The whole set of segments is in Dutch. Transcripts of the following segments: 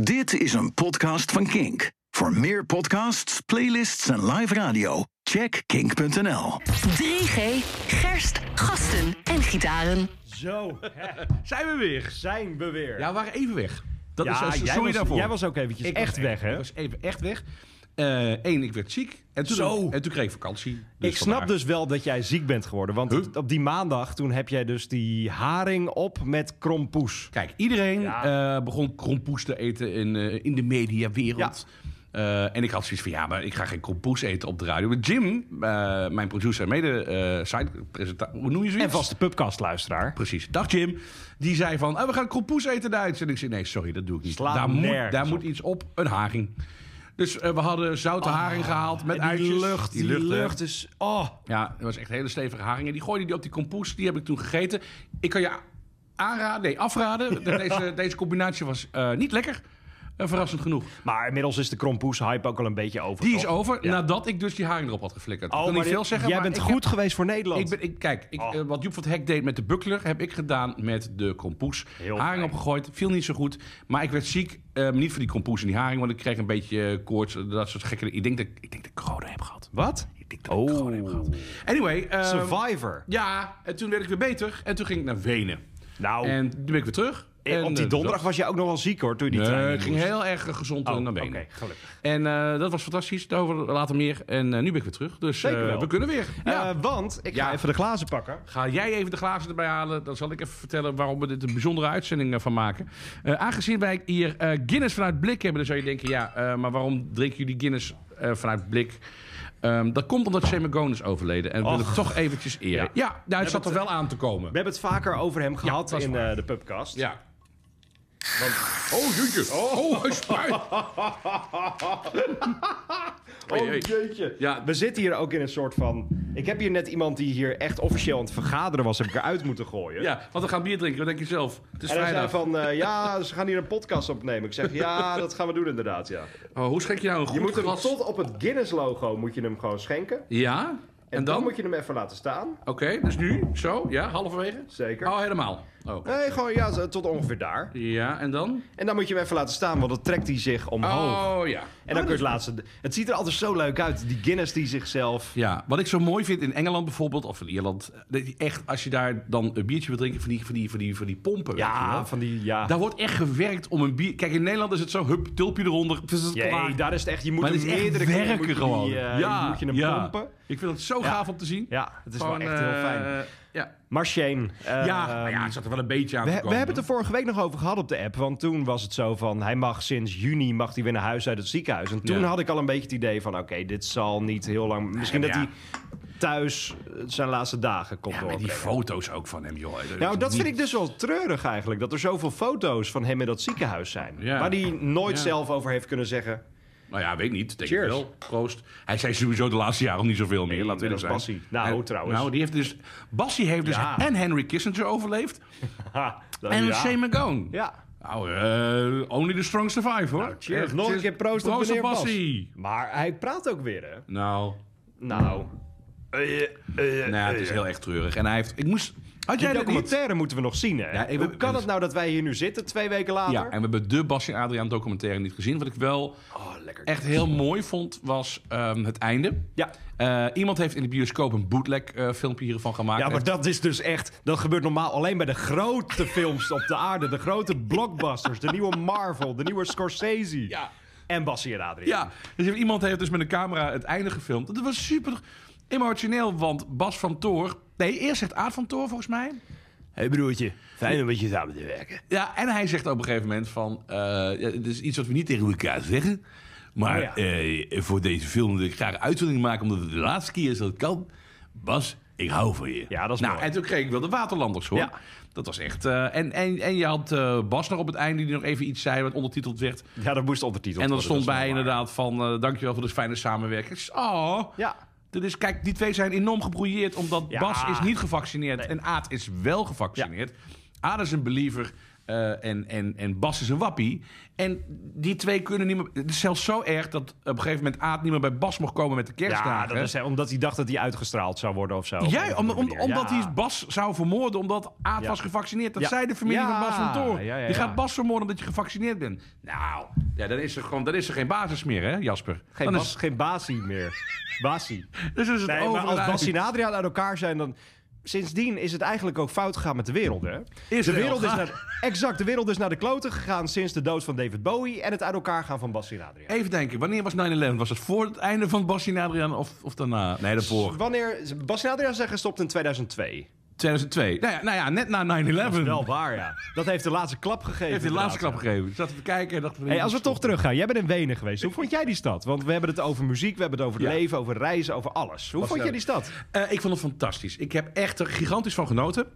Dit is een podcast van Kink. Voor meer podcasts, playlists en live radio, check kink.nl. 3G, gerst, gasten en gitaren. Zo, hè. zijn we weer. Zijn we weer. Ja, we waren even weg. Dat Ja, is, sorry jij was, daarvoor. Jij was ook eventjes Ik echt was weg, hè? Ik was even echt weg. Eén, ik werd ziek. En toen, Zo. En toen kreeg ik vakantie. Dus ik snap vandaar. dus wel dat jij ziek bent geworden. Want Huh? op die maandag, toen heb jij dus die haring op met krompoes. Kijk, iedereen eh, begon krompoes te eten in, eh, in de mediawereld. Eh, en ik had zoiets van, ja, maar ik ga geen krompoes eten op de radio. Maar Jim, eh, mijn producer en mede eh site, presenta- hoe noem je zoiets? En vaste pubcastluisteraar. Precies. Dag Jim. Die zei van, "Ah, we gaan krompoes eten in de uitzending. Ik zei, nee, sorry, dat doe ik niet. Slaat daar moet, nergens daar op. moet iets op, een haring. Dus eh, we hadden zoute haring gehaald met Ah, En die uitjes. lucht, die lucht, hè. is... Oh, Ja, dat was echt hele stevige haringen. Die gooide die op die kompoes. Die heb ik toen gegeten. Ik kan je aanraden, nee, afraden. Dat Deze, deze combinatie was eh, niet lekker. Eh, verrassend genoeg. maar inmiddels is de krompoes-hype ook al een beetje over, Die is toch? over nadat ik dus die haring erop had geflikkerd. Oh, ik kan maar niet veel dit- zeggen, jij maar bent ik goed geweest voor heb- Nederland. ik ben, ik, kijk, ik, Oh. eh, wat Joep van het Hek deed met de buckler... heb ik gedaan met de kompoes. Heel haring fijn. opgegooid, viel niet zo goed. Maar ik werd ziek, eh, niet voor die kompoes en die haring... want ik kreeg een beetje eh, koorts, eh, dat soort gekke... Ik denk dat ik, denk dat ik corona heb gehad. Wat? Ik denk Oh. dat ik corona heb gehad. Anyway... eh, Survivor. ja, en toen werd ik weer beter. En toen ging ik naar Wenen. Nou, En toen ben ik weer terug. eh, En, op die eh, donderdag dat- was je ook nog wel ziek, hoor, toen je die trein Nee, in ik ging moest. heel erg eh, gezond eh, Oh, naar Oké, Wenen. gelukkig. En eh, dat was fantastisch. Daarover later meer. En eh, nu ben ik weer terug. Dus eh, Zeker wel. we kunnen weer. Ja. Eh, want, ik ga Ja. even de glazen pakken. Ga jij even de glazen erbij halen. Dan zal ik even vertellen waarom we dit een bijzondere uitzending eh, van maken. Eh, aangezien wij hier eh, Guinness vanuit blik hebben, dan zou je denken... ja, eh, maar waarom drinken jullie Guinness eh, vanuit blik? Ehm, dat komt omdat Semagon is overleden. En we willen Och. hem toch eventjes eren. Ja. Ja, nou, het zat er wel aan te komen. We hebben het vaker over hem gehad dat is in waar. eh, de pubcast. Ja. Want... Oh, jeetje. Oh, hij spuit. Oh Oei, oei. jeetje. Ja. We zitten hier ook in een soort van... Ik heb hier net iemand die hier echt officieel aan het vergaderen was... heb ik eruit moeten gooien. Ja, want we gaan bier drinken. Wat denk je zelf? Het is En hij zei vrijdag. van, eh, ja, ze gaan hier een podcast opnemen. Ik zeg, ja, dat gaan we doen inderdaad, ja. Oh, hoe schenk je nou een goed Je moet hem glas? tot op het Guinness-logo moet je hem gewoon schenken. En, Ja? En, dan? dan? moet je hem even laten staan. Oké, dus nu? Zo? Ja, halverwege? Zeker. Oh, helemaal. Oh. Nee, gewoon ja, zo- tot ongeveer daar. Ja, en dan? En dan moet je hem even laten staan, want dan trekt hij zich omhoog. Oh, ja. En dan kun je het laatste... Het ziet er altijd zo leuk uit, die Guinness die zichzelf... Ja, wat ik zo mooi vind in Engeland bijvoorbeeld, of in Ierland... dat je echt, als je daar dan een biertje wil drinken van die, van die, van die, van die pompen... weet je wel. Ja, van die... Ja. Daar wordt echt gewerkt om een bier... Kijk, in Nederland is het zo, hup, tulpje eronder, het is Jee, klaar. daar is het echt... Je moet Maar het hem is echt meerdere keren werken moet je die, gewoon. eh, moet je hem pompen. Ik vind het zo gaaf om te zien. Ja, het is Gewoon, wel echt heel eh, fijn. Ja, Maar Shane, eh, ja, nou ja, het zat er wel een beetje aan we, te we komen. hebben het er vorige week nog over gehad op de app. Want toen was het zo van, hij mag sinds juni mag hij weer naar huis uit het ziekenhuis. En toen Ja. had ik al een beetje het idee van, oké, dit zal niet heel lang... Misschien Nee, dat maar hij thuis eh, zijn laatste dagen komt Ja, door. maar die foto's ook van hem, joh. Nou, dat is vind ik niet- dus wel treurig eigenlijk. Dat er zoveel foto's van hem in dat ziekenhuis zijn. Ja. Waar hij nooit Ja. zelf over heeft kunnen zeggen... Nou ja, weet ik niet. Denk Cheers. ik wel. Proost. Hij zei sowieso de laatste jaren niet zoveel meer. laten we net eerlijk als zijn. Bassie. Nou, Hij- trouwens. Nou, die heeft dus... Bassie heeft dus Ja. en Henry Kissinger overleefd. Ha, dat- En ja. Shane McGowan. Ja. Nou, eh, only the strong survive, hoor. Nou, Cheers. Echt, Nog een keer proost, op meneer Bas. Bassie. Maar hij praat ook weer, hè? Nou, Nou... nou ja, het is heel erg treurig. En hij heeft... Ik moest... Had Eh, Die jij dat niet? documentaire moeten we nog zien, hè? Ja, ik- Hoe kan het nou dat wij hier nu zitten, twee weken later? Ja, en we hebben de Bassie en Adriaan documentaire niet gezien. Wat ik wel Oh, lekker. echt heel mooi vond, was ehm, het einde. Ja. Eh, iemand heeft in de bioscoop een bootleg eh, filmpje hiervan gemaakt. Ja, maar dat is dus echt... Dat gebeurt normaal alleen bij de grote films op de aarde. De grote blockbusters. De nieuwe Marvel. De nieuwe Scorsese. Ja. En Bassie en Adrien. Ja, dus heeft- iemand heeft dus met een camera het einde gefilmd. Dat was super emotioneel, want Bas van Toor... Nee, eerst zegt Aad van Toor volgens mij. hey broertje, fijn om met je samen te werken. Ja, en hij zegt op een gegeven moment van... eh, ja, het is iets wat we niet tegen elkaar zeggen. Maar Oh ja. eh, voor deze film wil ik graag een uitzondering maken... omdat het de laatste keer is dat het kan. Bas, ik hou van je. Ja, dat is nou, mooi. En toen kreeg ik wel de Waterlanders, hoor. Ja. Dat was echt... eh, en, en, en je had eh, Bas nog op het einde die nog even iets zei... wat ondertiteld werd. Ja, dat moest ondertiteld En dan worden, stond dat is bij wel waar. inderdaad van... eh, dankjewel voor de fijne samenwerking. Het is- Oh... Ja. Dat is, kijk, die twee zijn enorm gebrouilleerd. Omdat Ja. Bas is niet gevaccineerd en Aad is wel gevaccineerd. Aad is een believer. eh, en, en, en Bas is een wappie. En die twee kunnen niet meer... Het is zelfs zo erg dat op een gegeven moment Aad niet meer bij Bas mocht komen met de kerstdagen. Ja, dat is, omdat hij dacht dat hij uitgestraald zou worden of zo. Op Jij, een om, andere om- manier. omdat Ja. hij Bas zou vermoorden omdat Aad Ja. was gevaccineerd. Dat Ja. zei de familie Ja. van Bas van Toren. Ja, ja, Je ja. gaat Bas vermoorden omdat je gevaccineerd bent. Nou, ja, dan, is er gewoon, dan is er geen basis meer, hè, Jasper? Geen, dan bas, is, geen basie meer. Basie. dus is het Nee, maar over als en Bas uit. en Adriaan uit elkaar zijn, dan... Sindsdien is het eigenlijk ook fout gegaan met de wereld, hè? Is de wel wereld is gaar. naar, exact, de wereld is naar de kloten gegaan sinds de dood van David Bowie... en het uit elkaar gaan van Bas en Adriaan. Even denken, wanneer was 9-11? Was het voor het einde van Bas en Adriaan of, of daarna? Nee, daarvoor. Wanneer... Bas en Adriaan zijn gestopt in 2002. 2002. Nou ja, nou ja net na 9-11. Wel waar, ja. Dat heeft de laatste klap gegeven. Heeft hij de laatste inderdaad, klap ja. gegeven. Ik zat te kijken en dacht... van, Hey, als we toch teruggaan. Jij bent in Wenen geweest. Hoe vond jij die stad? Want we hebben het over muziek, we hebben het over het Ja. leven, over reizen, over alles. Hoe Was vond jij leuk. die stad? Eh, ik vond het fantastisch. Ik heb echt er gigantisch van genoten.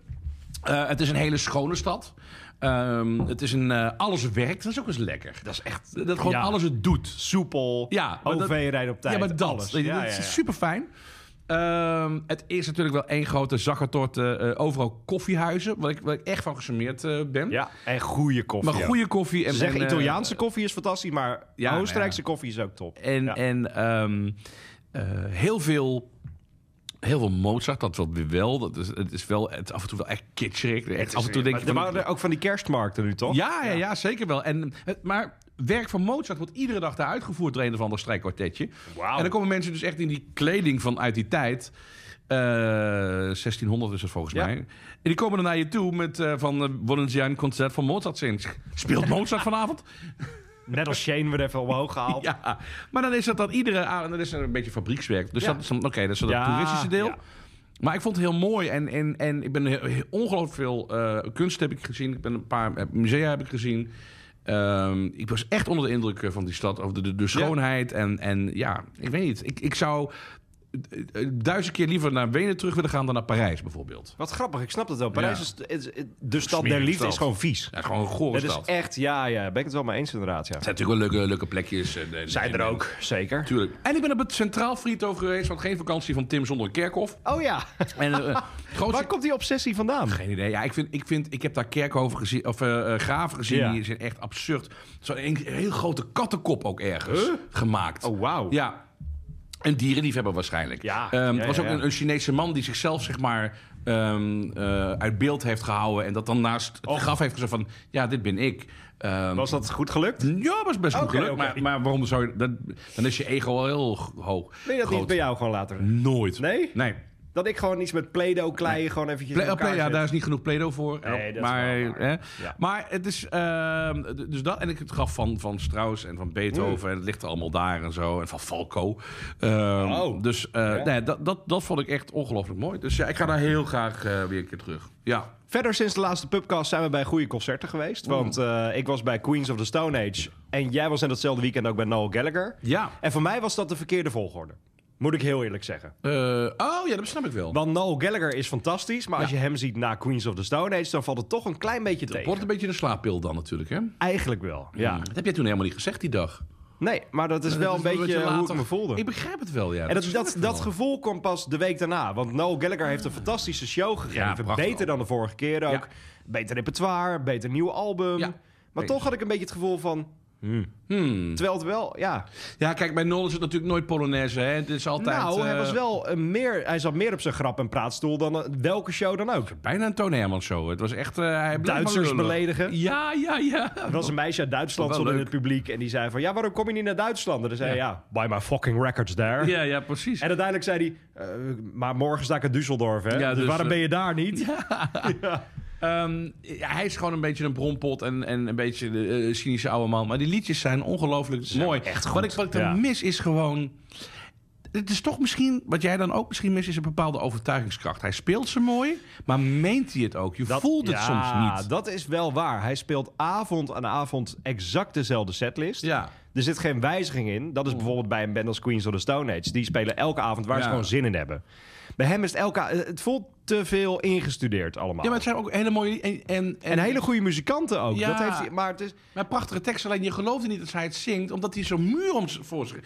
Eh, het is een hele schone stad. Ehm, het is een... eh, alles werkt. Dat is ook eens lekker. Dat is echt... Dat gewoon Ja. alles het doet. Soepel, Ja, maar dat- OV rijden op tijd, Ja, maar dat. alles. Weet je, Ja, dat ja, ja. is super fijn. het is natuurlijk wel één grote zakkertort. eh, eh, overal koffiehuizen. Waar ik, waar ik echt van gesummeerd eh, ben. Ja, en goede koffie. Maar goede koffie. En, Mm-hmm. Ze zeggen en, eh, Italiaanse koffie is fantastisch, maar Ja, nou Oostenrijkse koffie is ook top. En, Ja. en ehm, eh, heel veel. Heel veel Mozart, dat wel weer wel. Dat is, het is wel het, is af en toe wel echt kitscherig. Echt, af en toe denk Maar je er van- waren er ook van die kerstmarkten nu, toch? ja, ja, ja, zeker wel. En, het, maar werk van Mozart wordt iedere dag daar uitgevoerd door een of ander strijkkwartetje. Wauw. En dan komen mensen dus echt in die kleding van uit die tijd. Eh, 1600 is het volgens Ja. mij. En die komen dan naar je toe met eh, van eh, willen ze een concert van Mozart sinds. Speelt Mozart vanavond? Net als Shane werd even omhoog gehaald. Ja, maar dan is dat dan iedere avond, dan is er een beetje fabriekswerk. Dus Ja. dat is dan, oké, dat is dan het Ja, toeristische deel. ja. Maar ik vond het heel mooi en, en, en ik ben heel- heel- ongelooflijk veel eh, kunst heb ik gezien. Ik ben een paar eh, musea heb ik gezien. Ehm, ik was echt onder de indruk eh, van die stad, over de, de, de schoonheid. En, en ja, ik weet niet. Ik, ik zou eh, eh, duizend keer liever naar Wenen terug willen gaan dan naar Parijs bijvoorbeeld. Wat grappig, ik snap dat wel. Parijs Ja. is, is- is- de stad der Smerige liefde stad. is gewoon vies. Ja, gewoon een gore Het stad. is echt, ja, ja, daar ben ik het wel mee eens inderdaad, ja. Het zijn natuurlijk wel leuke, leuke plekjes. En, en- en- zeker. Tuurlijk. En ik ben op het Centraal Friedhof geweest, want geen vakantie van Tim zonder Kerkhof. Oh ja, En, eh, eh, grootste- waar komt die obsessie vandaan? Geen idee. Ja, ik, vind, ik, vind, ik heb daar kerkhoven gezien, of eh, eh, graven gezien. Ja. Die zijn echt absurd. Zo'n een, een heel grote kattenkop ook ergens gemaakt. Oh, wauw. Ja. Een dierenliefhebber waarschijnlijk. Ja, Ehm, ja, er was ja, ook ja. Een, een Chinese man die zichzelf zeg maar ehm, eh, uit beeld heeft gehouden. En dat dan naast het graf heeft gezegd van... Ja, dit ben ik. Ehm, Was dat goed gelukt? Ja, was best goed Oké, gelukt. oké. Maar, maar waarom zou je... Dat, dan is je ego al heel g- hoog. Nee, dat groot. niet bij jou gewoon later. Nooit. Nee? Nee. Dat ik gewoon iets met Play-Doh kleien, gewoon eventjes Play- oh, in elkaar Play- ja, zet. daar is niet genoeg Play-Doh voor. Nee, dat is maar, wel waar. hè. Ja. maar het is... ehm, d- dus dat, en ik het gaf van, van Strauss en van Beethoven. Mm. En het ligt er allemaal daar en zo. En van Falco. Ehm, Oh. Dus eh, nee, dat, dat, dat vond ik echt ongelooflijk mooi. Dus ja, ik ga daar heel graag eh, weer een keer terug. Ja. Verder sinds de laatste pubcast zijn we bij goede concerten geweest. Want eh, ik was bij Queens of the Stone Age. En jij was in datzelfde weekend ook bij Noel Gallagher. Ja. En voor mij was dat de verkeerde volgorde. Moet ik heel eerlijk zeggen. Eh, oh ja, dat snap ik wel. Want Noel Gallagher is fantastisch. Maar als Ja. je hem ziet na Queens of the Stone Age, dan valt het toch een klein beetje tegen. Wordt een beetje een slaappil dan natuurlijk, hè? Hmm. Eigenlijk wel. Ja. Dat heb je toen helemaal niet gezegd die dag. Nee, maar dat is wel Dat een is beetje hoe ik later. me voelde. Ik begrijp het wel, ja. En dat, snap dat, ik dat wel. gevoel kwam pas de week daarna. Want Noel Gallagher heeft een fantastische show Ja, gegeven. prachtig. beter dan de vorige keer ook. Ja. Beter repertoire, beter nieuw album. Ja. Maar toch had ik een beetje het gevoel van... Terwijl het wel, ja. Hmm. Ja, kijk, bij Nol is het natuurlijk nooit Polonaise, hè? Het is altijd... nou, hij, eh, was wel een meer, hij zat meer op zijn grap en praatstoel dan eh, welke show dan ook. Bijna een Toon Hermans show. Het was echt... eh, hij bleef Duitsers maar lullen. beledigen. Ja, ja, ja. Er was een meisje uit Duitsland Wel stond in leuk. het publiek. En die zei van, ja, waarom kom je niet naar Duitsland? En dan zei hij, ja, buy my fucking records there. Ja, ja, precies. En uiteindelijk zei hij, eh, maar morgen sta ik in Düsseldorf, hè? Ja, dus, dus, waarom eh, ben je daar niet? Ehm, ja, hij is gewoon een beetje een bronpot en, en een beetje de eh, cynische oude man. Maar die liedjes zijn ongelooflijk mooi. echt Wat goed. ik, wat ik dan Ja. mis is gewoon... Het is toch misschien, wat jij dan ook misschien mist, is een bepaalde overtuigingskracht. Hij speelt ze mooi, maar meent hij het ook? Je voelt het ja, soms niet. dat is wel waar. Hij speelt avond aan avond exact dezelfde setlist. Ja. Er zit geen wijziging in. Dat is bijvoorbeeld bij een band als Queens of the Stone Age. Die spelen elke avond waar ze Hmm. Ja. gewoon zin in hebben. Bij hem is het elke... Het voelt te veel ingestudeerd allemaal. ja, maar het zijn ook hele mooie... En, en, En hele goede muzikanten ook. Ja. Dat heeft hij, maar het is... Maar prachtige tekst, alleen je geloofde niet dat hij het zingt, omdat hij zo'n muur om zich voor zich.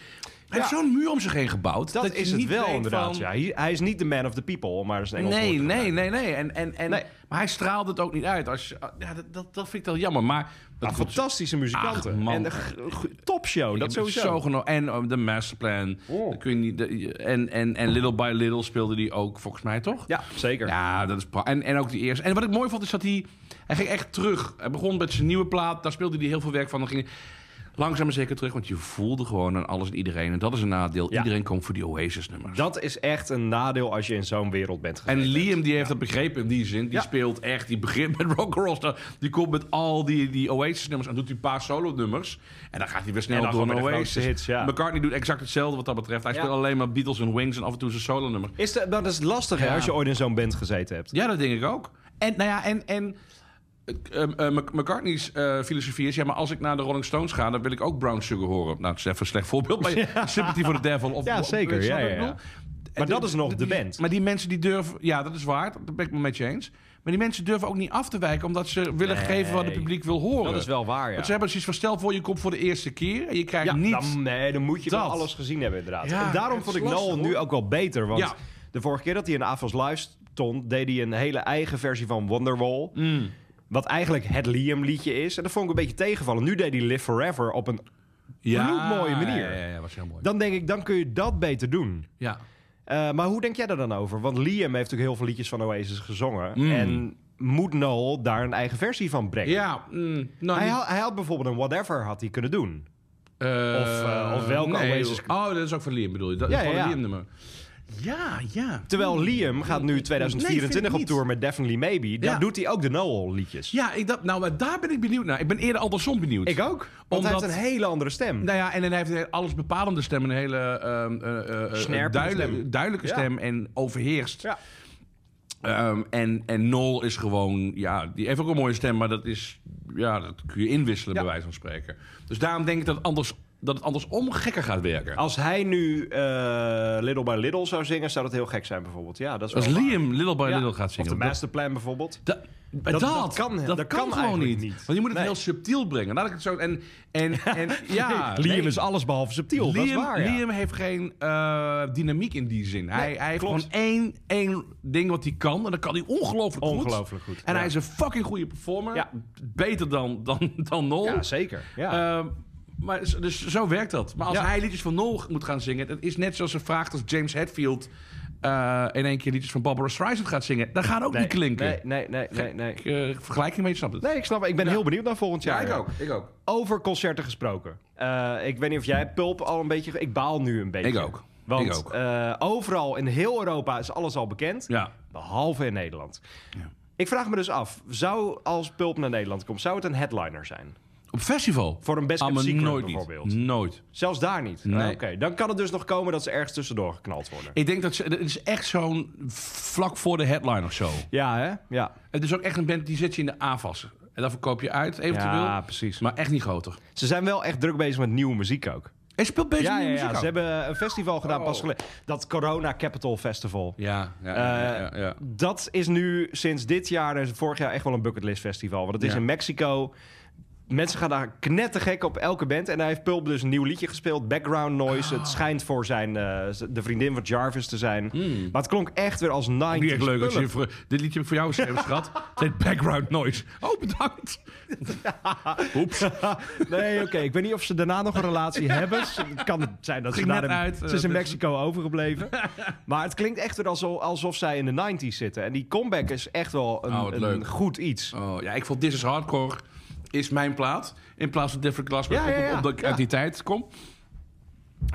Hij heeft Ja. zo'n muur om zich heen gebouwd. Dat, je is het niet wel weet inderdaad. van- Ja, hij, hij is niet de man of the people, om maar eens een Engels Nee, woord te nee, gebruiken. nee, nee. En, en, en, Nee. Maar hij straalde het ook niet uit. Als, je- ah, ja, dat, dat, dat vind ik wel jammer. Maar dat Ah, fantastische muzikanten. Ach, man. En een g- g- topshow, dat Ik heb sowieso. Oh. Zo geno- en eh, de masterplan. Dan Kun je niet, de- en, en, en Little by Little speelde die ook, volgens mij, toch? Ja, zeker. Ja, dat is pra- en, en ook die eerste. En wat ik mooi vond, is dat hij... Hij ging echt terug. Hij begon met zijn nieuwe plaat. Daar speelde hij heel veel werk van. Dan ging hij langzaam maar zeker terug. Want je voelde gewoon aan alles en iedereen. En dat is een nadeel. Ja. Iedereen komt voor die Oasis-nummers. Dat is echt een nadeel als je in zo'n wereld bent gegaan. En Liam, die heeft dat begrepen in die zin. Die speelt echt, die begint met rock roster. Die komt met al die, die Oasis-nummers en doet die een paar solo-nummers. En dan gaat hij weer En snel dan door gewoon naar met de grootste Oasis. hits, ja. McCartney doet exact hetzelfde wat dat betreft. Hij Ja. speelt alleen maar Beatles en Wings en af en toe zijn solo-nummer. Is dat, dat is lastig hè, Ja. als je ooit in zo'n band gezeten hebt. Ja, dat denk ik ook. En, nou ja, en... en eh, eh, eh, Mc- McCartney's eh, filosofie is... ja, maar als ik naar de Rolling Stones ga... dan wil ik ook Brown Sugar horen. Nou, het is even een slecht voorbeeld. Maar Sympathy for the Devil. Of, Ja, of- zeker. snap Ja, je wat ja, ik ja. bedoel? Maar dat is nog de die- band. Maar die mensen die durven... Ja, dat is waar. Dat ben ik me met je eens. Maar die mensen durven ook niet af te wijken... omdat ze willen geven wat het publiek wil horen. Dat is wel waar, ja. Want ze hebben zoiets van... stel voor, je komt voor de eerste keer... en je krijgt Ja, niets. dan, nee, dan moet je wel Dat. alles gezien hebben inderdaad. Ja, en daarom het vond is ik Noel lastig, hoor. nu ook wel beter. Want Ja. de vorige keer dat hij in AFAS Live stond... deed hij een hele eigen versie van Wonderwall. Wat eigenlijk het Liam liedje is. En dat vond ik een beetje tegenvallen. Nu deed hij Live Forever op een... bloedmooie manier. Ja, ja, ja, was heel mooi. Dan denk ik, dan kun je dat beter doen. ja. Eh, maar hoe denk jij daar dan over? Want Liam heeft ook heel veel liedjes van Oasis gezongen. En moet Noel daar een eigen versie van brengen? Mm. Ja, mm, nou, Hij, niet- had, hij had bijvoorbeeld een Whatever had hij kunnen doen. eh, of welke Oasis- Oh, dat is ook van Liam bedoel je. Dat Ja, is gewoon ja, ja. een Liam nummer. Ja, ja. Terwijl Liam gaat nu Hmm. Nee, vind 2024 ik op niet. tour met Definitely Maybe. Daar Ja. doet hij ook de Noel liedjes. Ja, ik dacht, nou, maar daar ben ik benieuwd naar. Ik ben eerder andersom benieuwd. Ik ook. Want hij Omdat- heeft een hele andere stem. Nou ja, en dan heeft hij alles bepalende stem. Een hele ehm, eh, eh, eh, Snerpende duidelijk- stem. duidelijke Ja. stem en overheerst. Ja. Ehm, en, en Nol is gewoon, ja, die heeft ook een mooie stem, maar dat is, ja, dat kun je inwisselen Ja. bij wijze van spreken. Dus daarom denk ik dat het, anders, dat het andersom gekker gaat werken. Als hij nu eh, Little by Little zou zingen, zou dat heel gek zijn bijvoorbeeld. Ja, dat is Als wel waar. Liam Little by Ja. Little gaat zingen. Of de dat- Masterplan bijvoorbeeld. Da- dat, dat, dat kan- kan, dat kan gewoon eigenlijk niet. niet. Want je moet het Nee. heel subtiel brengen. Laat ik het zo. En, en, en ja. Liam nee. is alles behalve subtiel. dat is Liam- waar, ja. Liam heeft geen eh, dynamiek in die zin. hij, hij heeft klopt. gewoon één, één ding wat hij kan. En dat kan hij ongelooflijk goed. Ongelooflijk goed, En ja. hij is een fucking goede performer. Ja. Beter dan, dan, dan Nol. Ja, zeker. Ja. Ehm, maar z- dus zo werkt dat. Maar als Ja. hij liedjes van Nol moet gaan zingen... dat is net zoals ze vraagt als James Hetfield... eh, in één keer liedjes van Barbara Streisand gaat zingen. Dat gaat ook nee, niet klinken. Nee, nee, nee, nee. nee. Ik, eh, vergelijking mee, je snapt het. Nee, ik snap het. Ik ben heel benieuwd naar volgend jaar. Ik ook. Over concerten gesproken. Eh, ik weet niet of jij Pulp al een beetje... ge- Ik baal nu een beetje. Ik ook. Want Ik ook. eh, overal in heel Europa is alles al bekend. Ja. Behalve in Nederland. Ik vraag me dus af, zou als Pulp naar Nederland komt, zou het een headliner zijn? Op festival. Voor een Best Ah, Kept maar Secret nooit niet. bijvoorbeeld. Nooit. Zelfs daar niet. Nee. Oké, dan kan het dus nog komen dat ze ergens tussendoor geknald worden. Ik denk dat ze... Het is echt zo'n vlak voor de headline of zo. Ja, hè? Ja. Het is ook echt een band die zet je in de AFAS. En dan verkoop je uit, eventueel. Ja, precies. Maar echt niet groter. Ze zijn wel echt druk bezig met nieuwe muziek ook. En speelt best Ja, ja, muziek ja. ook. ze hebben een festival gedaan Oh. pas geleden. Dat Corona Capital Festival. Ja, ja, ja, ja, Eh, ja. Dat is nu sinds dit jaar en vorig jaar echt wel een bucketlist festival. Want het is Ja. in Mexico. Mensen gaan daar knettergek op elke band. En hij heeft Pulp dus een nieuw liedje gespeeld. Background Noise. Ah. Het schijnt voor zijn, eh, z- de vriendin van Jarvis te zijn. Maar het klonk echt weer als 90s Hmm. Niet echt leuk dat je Pulp. voor, dit liedje heb ik voor jou geschreven, schat. Het heet Background Noise. Oh, bedankt. Oeps. Nee, oké. Ik weet niet of ze daarna nog een relatie hebben. Ze- Het kan zijn dat ze, Ging naar net uit, ze eh, is in dus- Mexico overgebleven. maar het klinkt echt weer alsof, alsof zij in de 90s zitten. En die comeback is echt wel een, Oh, wat een leuk. goed iets. Oh, ja, ik vond This is Hardcore is mijn plaat. In plaats van Different Glass, Ja, ja, ja. omdat ik Ja. uit die tijd kom.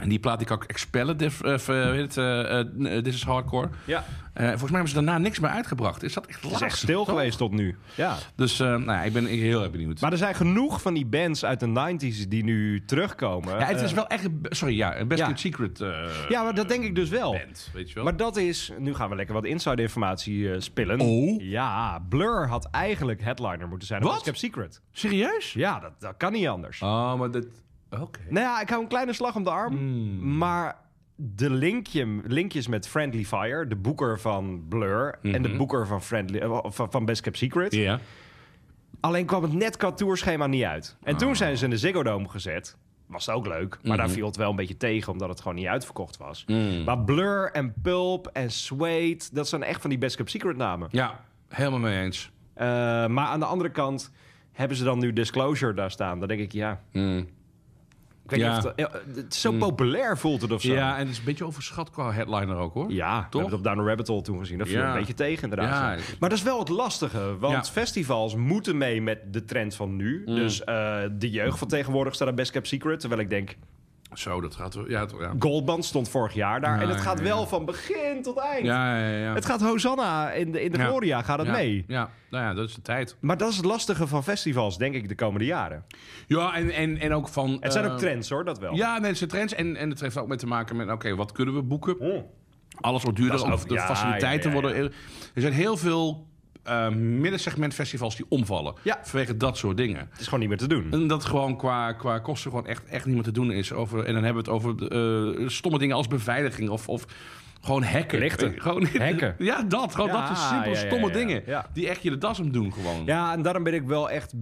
En die plaat die kan ik expellen, Diff, eh, eh, hoe heet het, eh, eh, This is Hardcore. Ja. Eh, volgens mij hebben ze daarna niks meer uitgebracht. Is dat echt Het is lastig, echt stil toch? geweest tot nu. Ja. Dus eh, nou ja, ik ben ik heel erg benieuwd. Maar er zijn genoeg van die bands uit de 90s die nu terugkomen. ja, het is Eh, wel echt... een be- Sorry, ja, een Best Ja. Kept Secret eh, ja, maar dat denk ik dus wel. band, weet je wel. Maar dat is, nu gaan we lekker wat inside-informatie eh, spillen. Oh. Ja, Blur had eigenlijk headliner moeten zijn. op Wat? Best Kept Secret. Serieus? Ja, dat, dat kan niet anders. Oh, maar dat... Oké. Nou ja, ik hou een kleine slag om de arm. Maar de linkje, linkjes met Friendly Fire, de boeker van Blur... en de boeker van, Friendly, eh, van, van Best Kept Secret... Ja. Alleen kwam het net qua tourschema niet uit. En Ah. toen zijn ze in de Ziggo Dome gezet. Was ook leuk, maar Mhm. daar viel het wel een beetje tegen... omdat het gewoon niet uitverkocht was. Maar Blur en Pulp en Suede... dat zijn echt van die Best Kept Secret namen. Ja. Helemaal mee eens. Eh, maar aan de andere kant hebben ze dan nu Disclosure daar staan. Dan denk ik, ja... Ik weet Ja. Mm. niet of het, eh, het is zo populair voelt het of zo. Ja, en het is een beetje overschat qua headliner ook, hoor. Ja, we hebben het op Down the Rabbit Hole toen gezien. Dat viel Ja. een beetje tegen inderdaad. Ja. Maar dat is wel het lastige. Want Ja. Mm. festivals moeten mee met de trend van nu. Dus eh, de jeugd van tegenwoordig staat aan Best Kept Secret. Terwijl ik denk, Zo, dat gaat... wel- Ja, het- ja. Goldband stond vorig jaar daar. Ja, en het ja, gaat ja. wel van begin tot eind. Ja, ja, ja. Het gaat Hosanna in de, in de Ja. Gloria, gaat het Ja, mee. Ja, nou ja, dat is de tijd. Maar dat is het lastige van festivals, denk ik, de komende jaren. Ja, en, en, en ook van... Het zijn eh, ook trends hoor, dat wel. Ja, nee, het zijn trends. En, en het heeft ook mee te maken met, oké, wat kunnen we boeken? Oh. Alles wordt Dat duurder, is of over- de ja, faciliteiten ja, ja, ja. worden... Er zijn heel veel eh middensegment festivals die omvallen. Ja. Vanwege dat soort dingen. Het is gewoon niet meer te doen. En dat gewoon qua, qua kosten gewoon echt, echt niet meer te doen is. Over, en dan hebben we het over eh, stomme dingen als beveiliging of... of gewoon hacken. Lichten. Eh, Gewoon, Hacken. Ja, dat. Gewoon Ja, dat soort simpele, ja, ja, stomme ja. dingen. Ja. Die echt je de das om doen gewoon. Ja, en daarom ben ik wel echt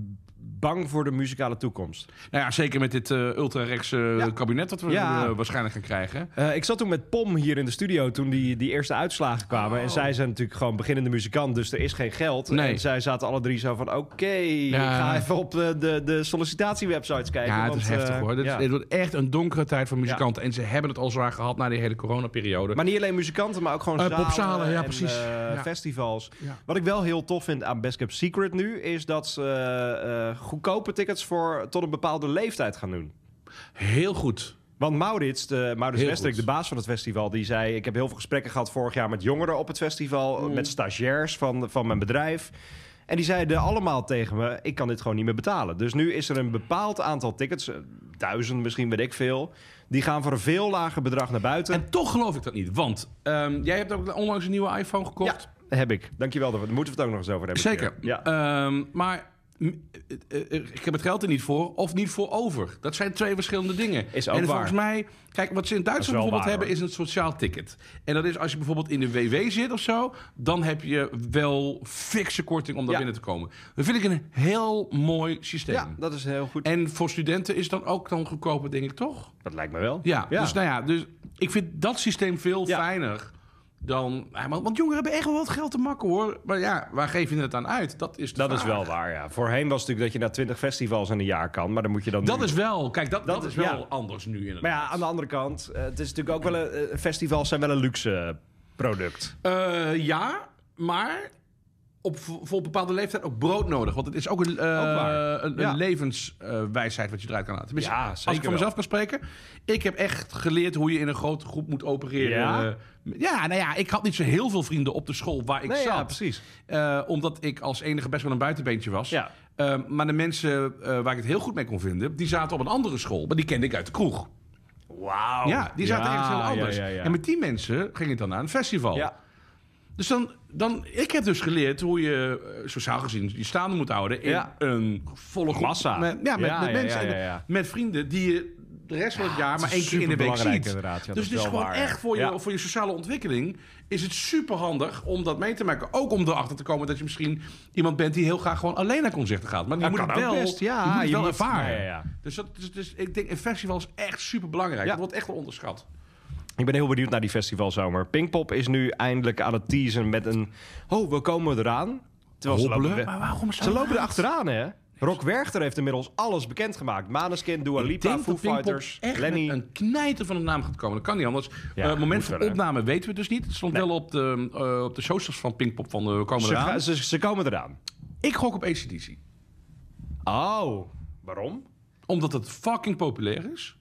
bang voor de muzikale toekomst. Nou ja, zeker met dit eh ultra-rechtse Ja. kabinet dat we Ja. eh, waarschijnlijk gaan krijgen. Eh, ik zat toen met Pom hier in de studio toen die, die eerste uitslagen kwamen. En zij zijn natuurlijk gewoon beginnende muzikant, dus er is geen geld. Oh. Nee. En zij zaten alle drie zo van, oké, Ja. ga even op de, de, de sollicitatiewebsites kijken. Ja, het want, is heftig eh, hoor. Dit, ja. dit wordt echt een donkere tijd voor muzikanten. En ze hebben het al zwaar gehad na die hele coronaperiode. Maar niet alleen muzikanten, maar ook gewoon Eh, zalen, popzalen, ja, en, precies. eh, Ja. festivals. Ja. Wat ik wel heel tof vind aan Best Kept Secret nu... is dat ze eh, eh, goedkope tickets voor tot een bepaalde leeftijd gaan doen. Heel goed. Want Maurits, de, Maurits Heel Westerik, de goed. baas van het festival, die zei... ik heb heel veel gesprekken gehad vorig jaar met jongeren op het festival... met stagiairs van, van mijn bedrijf. En die zeiden allemaal tegen me, ik kan dit gewoon niet meer betalen. Dus nu is er een bepaald aantal tickets, eh, duizend misschien, weet ik veel... die gaan voor een veel lager bedrag naar buiten. En toch geloof ik dat niet. Want ehm, jij hebt ook onlangs een nieuwe iPhone gekocht. Ja, heb ik. Dankjewel, daar moeten we het ook nog eens over hebben. Zeker. Ja. Ehm, maar m- eh, eh, ik heb het geld er niet voor of niet voor over. Dat zijn twee verschillende dingen. Is ook en waar. volgens mij, kijk, wat ze in wel Duitsland bijvoorbeeld waar, hebben, hoor. is een sociaal ticket. En dat is als je bijvoorbeeld in de WW zit of zo, dan heb je wel fikse korting om daar Ja. binnen te komen. Dat vind ik een heel mooi systeem. ja, dat is heel goed. En voor studenten is dan ook dan goedkoper, denk ik toch? dat lijkt me wel. Ja, dus nou ja, dus ik vind dat systeem veel Ja. fijner dan... ja, Want want jongeren hebben echt wel wat geld te makken, hoor. Maar ja, waar geef je het aan uit? Dat is de dat is vraag. wel waar, ja. Voorheen was het natuurlijk dat je naar 20 festivals in een jaar kan, maar dan moet je dan Dat nu- is wel, kijk, dat, dat, is- is wel ja. anders nu inderdaad. Maar ja, aan de andere kant, eh, het is natuurlijk ook wel een... eh, festivals zijn wel een luxe product. Eh, ja, maar op vo- voor een bepaalde leeftijd ook brood nodig. Want het is ook een, eh, waar. een, Ja. een levenswijsheid wat je eruit kan laten. Tenminste, Ja, als ik zeker van mezelf kan spreken. Ik heb echt geleerd hoe je in een grote groep moet opereren. Ja? Eh, ja, nou ja, ik had niet zo heel veel vrienden op de school waar ik Nee, zat. ja, precies. Eh, omdat ik als enige best wel een buitenbeentje was. Ja. Eh, maar de mensen eh, waar ik het heel goed mee kon vinden... die zaten op een andere school. Maar die kende ik uit de kroeg. Wauw. Ja, die zaten ergens heel anders. Oh, Ja, ja, ja. En met die mensen ging het dan naar een festival. Ja. Dus dan, dan, ik heb dus geleerd hoe je eh, sociaal gezien je staande moet houden in Ja. een volle groep. Massa. Met, ja, met, Ja, met ja, mensen, ja, en ja, ja. met vrienden die je de rest van het jaar is maar één keer in de week superbelangrijk ziet. inderdaad. Ja, dat dus is het is wel gewoon waar, ja. echt voor je, Ja. voor je sociale ontwikkeling is het super handig om dat mee te maken. Ook om erachter te komen dat je misschien iemand bent die heel graag gewoon alleen naar concerten gaat. Maar je Dat moet kan het ook wel, best, ja, je moet het je wel moet- ervaren. ja, ja, ja. Dus, dat, dus, dus ik denk een festival is echt super belangrijk. Ja. Dat wordt echt wel onderschat. Ik ben heel benieuwd naar die festivalzomer. Pinkpop is nu eindelijk aan het teasen met een... Oh, we komen eraan. Terwijl ze Hobbelen? lopen, we- Maar waarom zo ze lopen laat? er achteraan, hè? Rock Werchter heeft inmiddels alles bekendgemaakt. Maneskin, Dua Ik Lipa, denk Foo dat Pinkpop Fighters, echt Lenny. met een knijter van een naam gaat komen. Dat kan niet anders. Ja, Eh, moment moet van wel, hè. opname weten we het dus niet. Het stond wel op de, eh, op de socials van Pinkpop van eh, de komende Ze, ga- raad. ze, ze komen eraan. Ik gok op ACDC. Oh, waarom? Omdat het fucking populair is.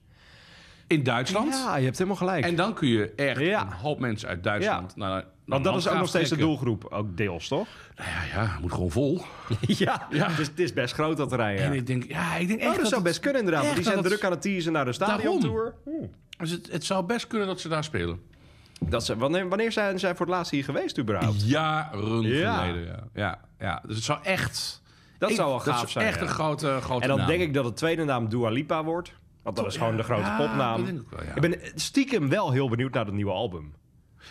In Duitsland. Ja, je hebt helemaal gelijk. En dan kun je echt Ja. een hoop mensen uit Duitsland Ja. naar, naar Want dat is ook Landgraaf nog steeds de trekken. doelgroep, ook deels, toch? Ja, ja, het moet gewoon vol. ja, Dus het is best groot dat terrein, ja. En ik denk, ja, ik denk echt oh, dat, zou het- best kunnen inderdaad. Want die echt zijn dat het- druk aan het teasen naar de stadiontour. Oeh. Dus het, het zou best kunnen dat ze daar spelen. Dat ze, wanneer, wanneer zijn zij voor het laatst hier geweest überhaupt? Jaren Ja. geleden, ja. ja. Ja, dus het zou echt... Dat zou wel gaaf dat zijn, echt ja. een grote, grote En dan naam. denk ik dat het tweede naam Dua Lipa wordt. Want dat is gewoon de grote Ja, popnaam. dat denk ik wel, ja. Ik ben stiekem wel heel benieuwd naar het nieuwe album.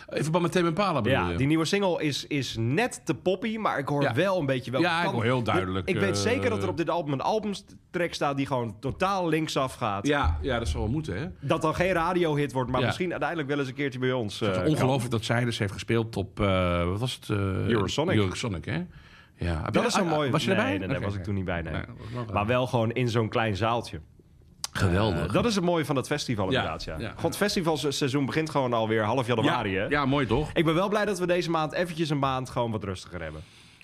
In verband met Tame Impala bedoel Ja, je? die nieuwe single is, is net te poppy, maar ik hoor Ja. wel een beetje welke Ja, ik kant- hoor heel duidelijk, Ik, ik weet eh, zeker dat er op dit album een albumtrack staat die gewoon totaal linksaf gaat. ja, ja, dat zal wel moeten, hè? Dat dan geen radiohit wordt, maar Ja. misschien uiteindelijk wel eens een keertje bij ons. eh, Het is ongelooflijk dat zij dus heeft gespeeld op, eh, wat was het? eh, Eurosonic. Eurosonic, hè? Ja. Heb kan. je- Dat is een ah, mooi. Was je nee, erbij? Nee, nee, Oké, was ik oké. toen niet bij. Nee. Nee, dat was wel maar wel gewoon in zo'n klein zaaltje. Geweldig. Dat is het mooie van het festival Ja, inderdaad. Ja. ja. God, het festivalseizoen begint gewoon alweer half ja, januari. hè? ja, mooi toch? Ik ben wel blij dat we deze maand eventjes een maand gewoon wat rustiger hebben.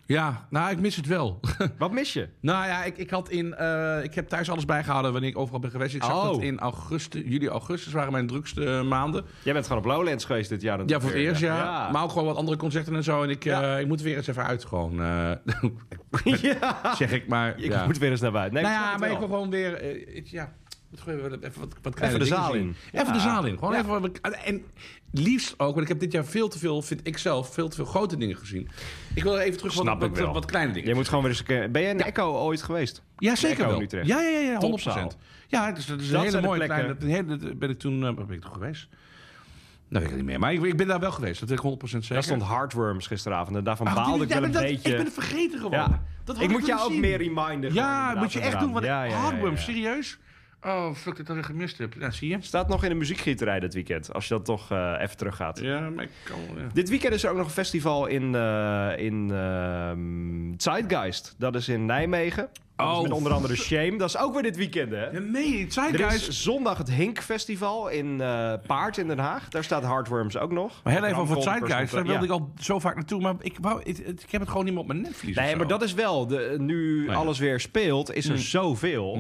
Ja, nou, ik mis het wel. Wat mis je? nou ja, ik, ik had in... eh, ik heb thuis alles bijgehouden wanneer ik overal ben geweest. Ik zag Oh. dat in augustus, juli, augustus waren mijn drukste eh, maanden. Jij bent gewoon op Lowlands geweest dit jaar. Ja, voor het eerst, ja. Ja. Maar ook gewoon wat andere concerten en zo. En ik, eh, Ja. ik moet er weer eens even uit, gewoon. eh, Ja. zeg ik maar. Ik ja. moet weer eens naar buiten. Nee, nou ik ja, snap maar het ik wil wel. gewoon weer... eh, ik- ja, wat gewoon weer even wat, wat kleine Even de dingen zaal zien. in. Even Ja. de zaal in. Gewoon Ja. even, wat ik- en liefst ook, want ik heb dit jaar veel te veel, vind ik zelf, veel te veel grote dingen gezien. Ik wil even terug Snap wat, ik wat, wel. wat kleine dingen. Je moet gewoon weer eens een keer... Ben jij in Echo ooit geweest? Ja, Echo zeker wel. in Utrecht. Ja, ja, ja, ja, 100 Topzaal. Ja, het is, het is een Dat hele zijn de mooie plekken. kleine... dat- een hele- dat ben ik toen... eh, waar ben ik toen geweest? Nou, weet ik niet meer. Maar ik, ik ben daar wel geweest, dat weet ik 100% zeker. Daar stond Hardworms gisteravond en daarvan Ach, die- baalde ik ja, wel een dat- beetje. Ik ben het vergeten gewoon. Ja. Dat had ik moet willen jou ook zien. meer reminden. Ja, moet je echt doen. Want wat ja, Hardworm, serieus? Oh, fuck, dat had ik gemist heb. Ja, zie je? Staat nog in de muziekgieterij dit weekend, als je dat toch eh, even teruggaat. Ja, maar ik kan... Ja. Dit weekend is er ook nog een festival in, eh, in ehm, Zeitgeist. Dat is in Nijmegen. Dat is Oh. met onder andere Shame. Dat is ook weer dit weekend, hè? Ja, nee, Er Zeitgeist... is zondag het Hink Festival in eh, Paard in Den Haag. Daar staat Hardworms ook nog. Maar heel even over Bram Kolpers Zeitgeist, daar stond er- wilde ja. ik al zo vaak naartoe, maar ik, wou, ik, ik heb het gewoon niet meer op mijn netvlies. Nee, maar dat is wel. De, nu ja. Hmm. alles weer speelt, is er zoveel.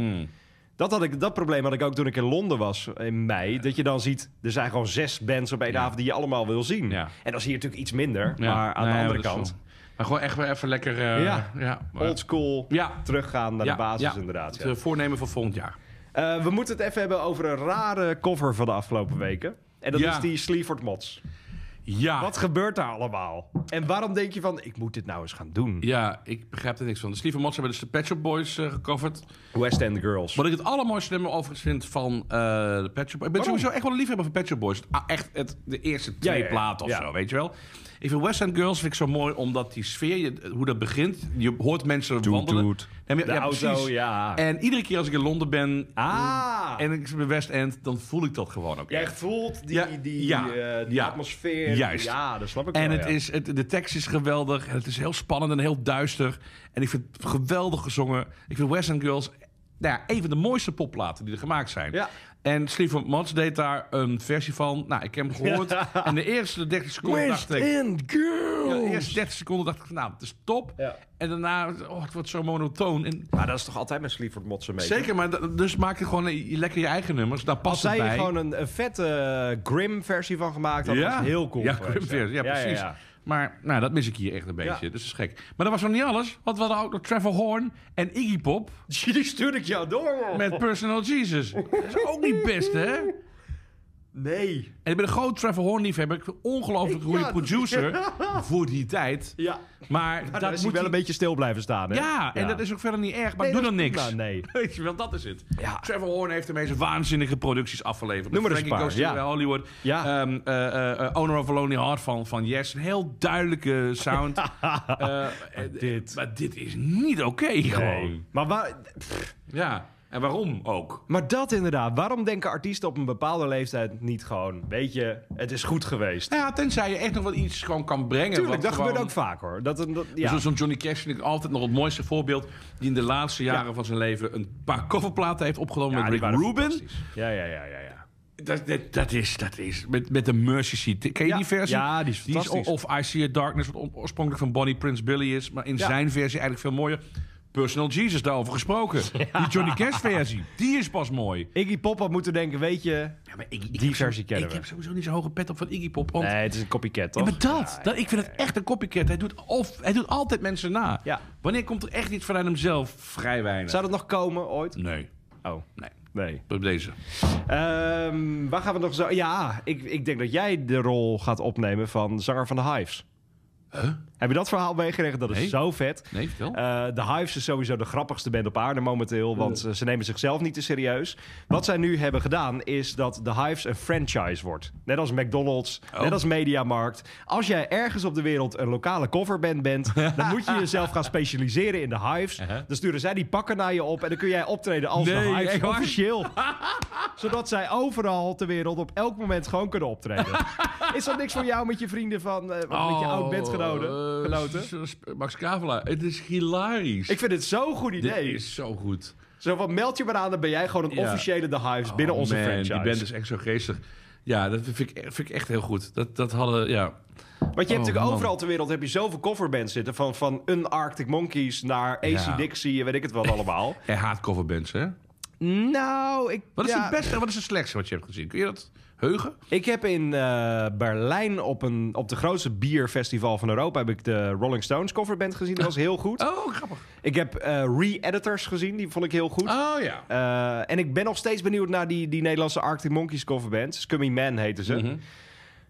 Dat, had ik, dat probleem had ik ook toen ik in Londen was in mei. Dat je dan ziet, er zijn gewoon zes bands op één avond die je allemaal wil zien. Ja. En dat is hier natuurlijk iets minder. maar aan de andere kant, Maar gewoon echt weer even lekker... eh, Ja. ja, maar- old school, Ja. teruggaan naar Ja, de basis ja. inderdaad. Het ja. eh, voornemen van volgend jaar. Eh, we moeten het even hebben over een rare cover van de afgelopen weken. En dat Ja. Ah. is die Sleaford Mods. Ja. Wat gebeurt daar allemaal? En waarom denk je van, ik moet dit nou eens gaan doen? Ja, ik begrijp er niks van. De Steve Mods hebben dus de Pet Shop Boys eh, gecoverd. West End Girls. Wat ik het allermooiste nummer overigens vind van eh, de Pet Shop Boys. Ik ben sowieso echt wel een liefhebber van Pet Shop Boys. Ah, echt het, de eerste twee Ja, ja, ja. platen of Ja. zo, weet je wel. Ik vind West End Girls vind ik zo mooi, omdat die sfeer, je- hoe dat begint. Je hoort mensen wandelen. toet. Nee, maar- De auto, ja. En iedere keer als ik in Londen ben Ah! en ik zit bij West End, dan voel ik dat gewoon ook Jij echt. voelt die, Ja, die, ja, eh, die ja. atmosfeer. Juist. Ja, dat snap ik En wel, het ja. is, het, de tekst is geweldig. En het is heel spannend en heel duister. En ik vind het geweldig gezongen. Ik vind West End Girls nou ja, een van de mooiste popplaten die er gemaakt zijn. Ja. En Sleaford Mods deed daar een versie van. Nou, ik heb hem gehoord. En de eerste 30 seconden West dacht ik... End Ja, Girls! de eerste 30 seconden dacht ik, van, nou, het is top. Ja. En daarna, oh, het wordt zo monotoon. En Maar dat is toch altijd met Sleaford Mods een beetje? zeker, maar da- dus maak je gewoon eh, lekker je eigen nummers. Daar Als past het zij bij. er gewoon een, een vette Grim-versie van gemaakt hadden, dat was heel cool. Ja, geweest, Grim Fear, ja, ja, precies. ja. Maar nou, dat mis ik hier echt een beetje. Dus dat is gek. Maar dat was nog niet alles. Want we hadden ook nog Trevor Horn en Iggy Pop Die stuurde ik jou door, man. met Personal Jesus. Dat is ook niet best, hè? Nee. En ik ben een groot Trevor Horn liefhebber. Ik vind het ongelooflijk goede Ja, dat- producer voor die tijd. Ja. Maar Dat dat Ah, is moet hij wel hij- een beetje stil blijven staan, hè? Ja, en dat is ook verder niet erg. Maar Nee, doe dat dan is niks. prima, nee. Weet je wel, dat is het. Ja. Trevor Horn heeft de meest waanzinnige producties afgeleverd. Noem maar eens Frankie een paar, Goes to ja. Hollywood. Ja. Ehm, eh, eh, eh, Owner of a Lonely Heart van, van Yes. Een heel duidelijke sound. Eh, eh, dit. Maar dit is niet oké gewoon. Nee. Maar, wa- pff, Ja. En waarom ook? maar dat inderdaad. Waarom denken artiesten op een bepaalde leeftijd niet gewoon... Weet je, het is goed geweest. Nou ja, tenzij je echt nog wel iets gewoon kan brengen. Tuurlijk, wat dat gewoon- gebeurt ook vaak, hoor. Dat, een- dat, ja. Zo- Zo'n Johnny Cash vind ik altijd nog het mooiste voorbeeld. Die in de laatste jaren van zijn leven een paar coverplaten heeft opgenomen Ja, met die Rick waren Rubin. fantastisch. Ja, ja, ja, ja. ja. Dat, dat, dat is, dat is. Met, met de Mercy Seat. Ken je Ja. die versie? Ja, die is fantastisch. of I See a Darkness, wat on- oorspronkelijk van Bonnie Prince Billy is. Maar in Ja. zijn versie eigenlijk veel mooier. Personal Jesus, daarover gesproken. Die Johnny Cash versie, die is pas mooi. Iggy Pop had moeten denken, weet je... die versie kennen Ik we. heb sowieso niet zo'n hoge pet op van Iggy Pop. want- Nee, het is een copycat, toch? Ja, maar dat, dat, ik vind het echt een copycat. Hij doet, of, hij doet altijd mensen na. Ja. Wanneer komt er echt iets vanuit hemzelf? Vrij weinig. Zou dat nog komen, ooit? Nee, Oh, nee. nee. Op deze. Ehm, waar gaan we nog zo... Ja, ik, ik denk dat jij de rol gaat opnemen van zanger van de Hives. Heb je dat verhaal meegekregen? Dat is Nee. zo vet. Nee, vertel. Eh, De Hives is sowieso de grappigste band op aarde momenteel, want eh, ze nemen zichzelf niet te serieus. Wat zij nu hebben gedaan is dat The Hives een franchise wordt. Net als McDonald's, Oh. net als Mediamarkt. Als jij ergens op de wereld een lokale coverband bent, dan moet je jezelf gaan specialiseren in The Hives. Dan sturen zij die pakken naar je op en dan kun jij optreden als The Uh-huh. Nee, Hives echt waar? officieel. Zodat zij overal ter wereld op elk moment gewoon kunnen optreden. is dat niks voor jou met je vrienden van, eh, met je oud eh, bandgenoten? genoten? s- s- Max Kavelaar, het is hilarisch. Ik vind het zo'n goed Dit idee. is zo goed. Zo van, meld je maar aan, dan ben jij gewoon een Ja. officiële The Hives binnen Oh, onze man, franchise. Die band is echt zo geestig. Ja, dat vind ik, vind ik echt heel goed. Dat, dat hadden, ja. Want je hebt Oh, natuurlijk man. overal ter wereld heb je zoveel coverbands zitten. Van, van Unarctic Monkeys naar AC Ja. Dixie en weet ik het wat allemaal. Hij haat coverbands, Eh, hè? nou, ik... Wat is ja, het beste en wat is het slechtste wat je hebt gezien? Kun je dat heugen? Ik heb in eh, Berlijn op, een, op de grootste bierfestival van Europa... heb ik de Rolling Stones coverband gezien. Dat was heel goed. Oh, grappig. Ik heb eh, re-editors gezien. Die vond ik heel goed. Oh ja. Eh, en ik ben nog steeds benieuwd naar die, die Nederlandse Arctic Monkeys coverband. Scummy Man heette ze. Mhm.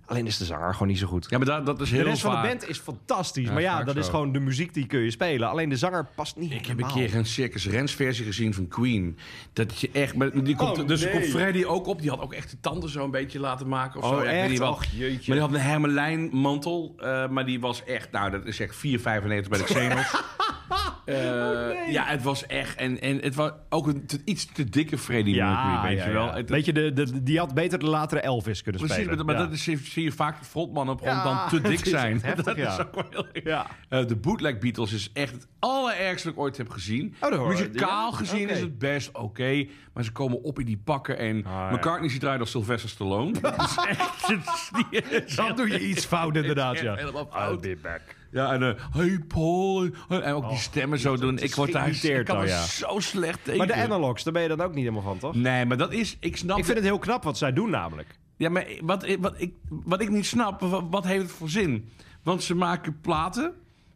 Alleen is de zanger gewoon niet zo goed. Ja, maar dat, dat is De heel rest van vaak. de band is fantastisch. maar ja, vaak dat is zo. gewoon de muziek die kun je spelen. Alleen de zanger past niet Ik heb een keer een Circus Rens versie gezien van Queen. Dat je echt, maar die komt, Oh, dus nee. komt Freddy ook op. Die had ook echt de tanden zo een beetje laten maken of Oh, zo. Ja, ik weet echt? niet wat. Och, jeetje. Maar die had een hermelijn mantel. eh, maar die was echt, nou dat is echt 4,95 bij de Xenos. Eh, Oh, Ja, het was echt. En, en het was ook een te- iets te dikke Freddy Mercury, weet je wel. Het- Weet je, de, de, die had beter de latere Elvis kunnen Precies, spelen. maar, maar Ja. dat is, zie je vaak frontmannen op Ja, grond dan te het dik is zijn. echt heftig, dat ja. is ook wel heel erg. Ja. Eh, de bootleg Beatles is echt het allerergste wat ik ooit heb gezien. dat hoor- Muzikaal ja? gezien Oké. is het best oké, maar ze komen op in die pakken en Ah, ja. McCartney ziet eruit als Sylvester Stallone. dat is echt, dat is niet- Dan doe je iets fout inderdaad, echt ja. helemaal fout. I'll be back. ja, en eh, hey Paul, en- en Oh, ook die stemmen zo doen. Ik word daar ik geïrriteerd kan al, er ja. zo slecht tegen. Maar de analogs, daar ben je dan ook niet helemaal van, toch? Nee, maar dat is, ik snap Ik vind het heel knap wat zij doen namelijk. Ja, maar wat, wat, ik, wat ik niet snap, wat, wat heeft het voor zin? Want ze maken platen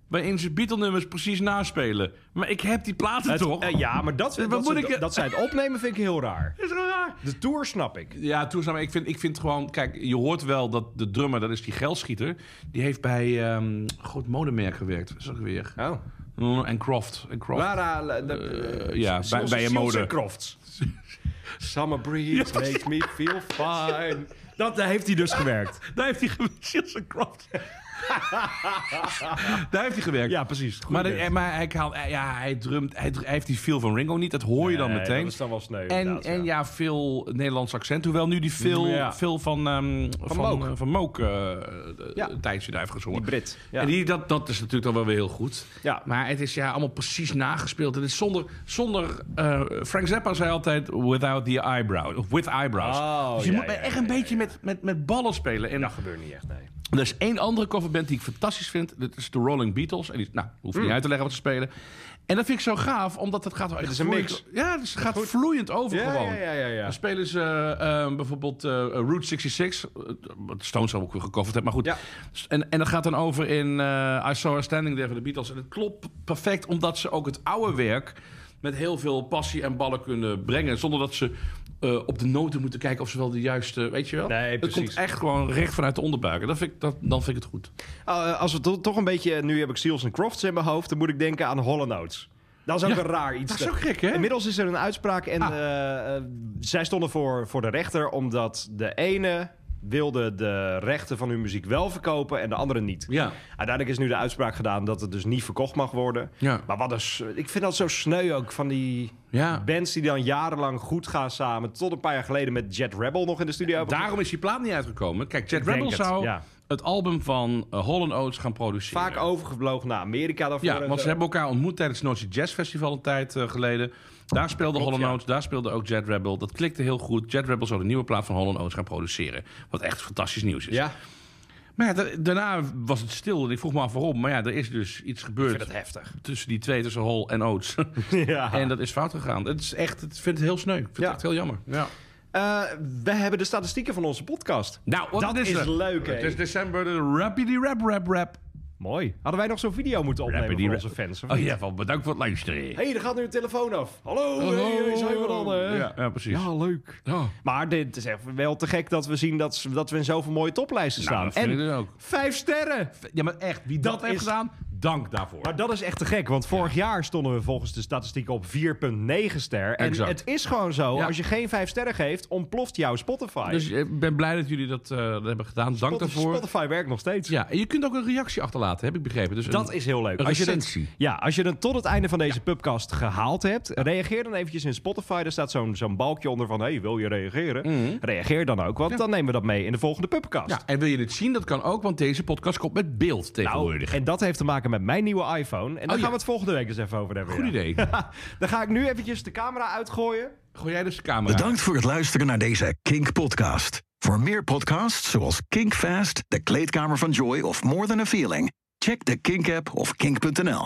waarin ze Beatle-nummers precies naspelen. Maar ik heb die platen Het- toch? eh, ja, maar dat, Wat dat, moet ze, ik- dat zij het opnemen vind ik heel raar. Dat is gewoon raar. De tour snap ik. Ja, toestaan. Ik vind, ik vind gewoon... Kijk, je hoort wel dat de drummer, dat is die geldschieter... die heeft bij ehm, een groot modemerk gewerkt. Wat is dat weer? Oh. Mm, En Croft. En Croft. Lara, la- de, Eh, ja, bij, bij je mode. Crofts. Summer breeze makes me feel fine. Dat daar heeft hij dus gewerkt. Daar heeft hij gewerkt. Shields en Croft. Daar heeft hij gewerkt. Ja, precies. maar de- eh, maar hij, haalt- ja, hij, drumt, hij, dru- hij heeft die feel van Ringo niet. Dat hoor je dan meteen. Dat is dan wel sneu. En, inderdaad, en ja, veel Nederlands accent. Hoewel nu die veel, Ja. veel van, ehm, van, Mook. eh, van Mook eh, de- Ja. een tijdje daar heeft gezongen. Die Brit, ja. En die, dat, dat is natuurlijk dan wel weer heel goed. Ja. Maar het is ja allemaal precies nagespeeld. Het is zonder, zonder eh, Frank Zappa zei altijd without the eyebrow. Of with eyebrows. Oh, dus je ja, moet ja, echt ja, een ja, beetje met, met, met ballen spelen. En Dat gebeurt niet echt, nee. er is één andere coverband die ik fantastisch vind. Dat is de Rolling Beatles. En die, nou, hoef Mm. je niet uit te leggen wat ze spelen. En dat vind ik zo gaaf, omdat het gaat wel echt is een vloeiend- mix. Ja, dus het gaat vloeiend over Ja, gewoon. ja, ja, ja, ja. Dan spelen ze eh, eh, bijvoorbeeld eh, Route 66. eh, Wat Stones al ook weer gecoverd heeft, maar goed. Ja. En, en dat gaat dan over in eh, I Saw Her Standing There van de Beatles. En het klopt perfect, omdat ze ook het oude werk... met heel veel passie en ballen kunnen brengen. Zonder dat ze... eh, op de noten moeten kijken of ze wel de juiste, weet je wel? Nee, het komt precies. echt gewoon recht vanuit de onderbuik. En Dat vind ik, dat, dan vind ik het goed. Eh, als we to- toch een beetje... Nu heb ik Seals en Crofts in mijn hoofd. Dan moet ik denken aan Hollow Notes. Dat is ook Ja, een raar iets. dat is ook gek, hè? Ah. Inmiddels is er een uitspraak. En eh, eh, zij stonden voor, voor de rechter omdat de ene wilde de rechten van hun muziek wel verkopen en de andere niet. Ja. Uiteindelijk is nu de uitspraak gedaan dat het dus niet verkocht mag worden. Ja. Maar wat is, ik vind dat zo sneu ook van die Ja. bands die dan jarenlang goed gaan samen. Tot een paar jaar geleden met Jet Rebel nog in de studio. hebben Daarom is die plaat niet uitgekomen. Kijk, Chad Ik denk Rebel het, zou ja. het album van eh, Holland Oates gaan produceren. Vaak overgevlogen naar Amerika daarvoor. Ja, en want zo. ze hebben elkaar ontmoet tijdens het Noordse Jazz Festival een tijd eh, geleden. Daar speelde Holland ja. Oates, daar speelde ook Jet Rebel. Dat klikte heel goed. Jet Rebel zou de nieuwe plaat van Holland Oates gaan produceren. Wat echt fantastisch nieuws is. Ja, Maar ja, da- daarna was het stil en ik vroeg me af waarom. Maar ja, er is dus iets ik gebeurd vind het heftig. tussen die twee, tussen Hall en Oates. Ja. en dat is fout gegaan. Het is echt, ik vind het heel sneu. Ik vind Ah. Ja. het echt heel jammer. Ja. Eh, we hebben de statistieken van onze podcast. Nou, wat Dat het is er. leuk, hè? Het is december, de rappity rap rap rap. Mooi. Hadden wij nog zo'n video moeten opnemen Rapper die voor rap- onze fans? of Oh niet? ja, wel bedankt voor het luisteren. Hé, hey, er gaat nu een telefoon af. Hallo, hey, hey, zijn we dan? hè? Ja, ja, precies. Ja, leuk. Ja. Maar dit is echt wel te gek dat we zien dat, ze- dat we in zoveel mooie toplijsten Nou, dat staan. vind En ik dus ook. vijf sterren. Ja, maar echt, wie dat, Dat heeft is- gedaan, dank daarvoor. Maar dat is echt te gek, want vorig jaar stonden we volgens de statistieken op 4,9 ster. En Exact. het is gewoon zo, Ja. als je geen vijf sterren geeft, ontploft jouw Spotify. Dus ik ben blij dat jullie dat, eh, dat hebben gedaan. Dank Spotify, daarvoor. Spotify werkt nog steeds. Ja, en je kunt ook een reactie achterlaten, heb ik begrepen. Dus Dat een- is heel leuk. Een Als je het, recensie. ja, als je het tot het einde van deze podcast gehaald hebt, reageer dan eventjes in Spotify. Er staat zo'n zo'n balkje onder van, hey, wil je reageren? Reageer dan ook, want dan nemen we dat mee in de volgende podcast. Mhm. Ja, en wil je dit zien? Dat kan ook, want deze podcast komt met beeld Nou, tegenwoordig. en dat heeft te maken met mijn nieuwe iPhone. En daar gaan Oh, ja. we het volgende week eens even over hebben. Goed ja. idee. Dan ga ik nu eventjes de camera uitgooien. Gooi jij dus de camera. Bedankt voor het luisteren naar deze Kink podcast. Voor meer podcasts zoals Kink Fast, De Kleedkamer van Joy of More Than a Feeling, check de Kink app of kink.nl.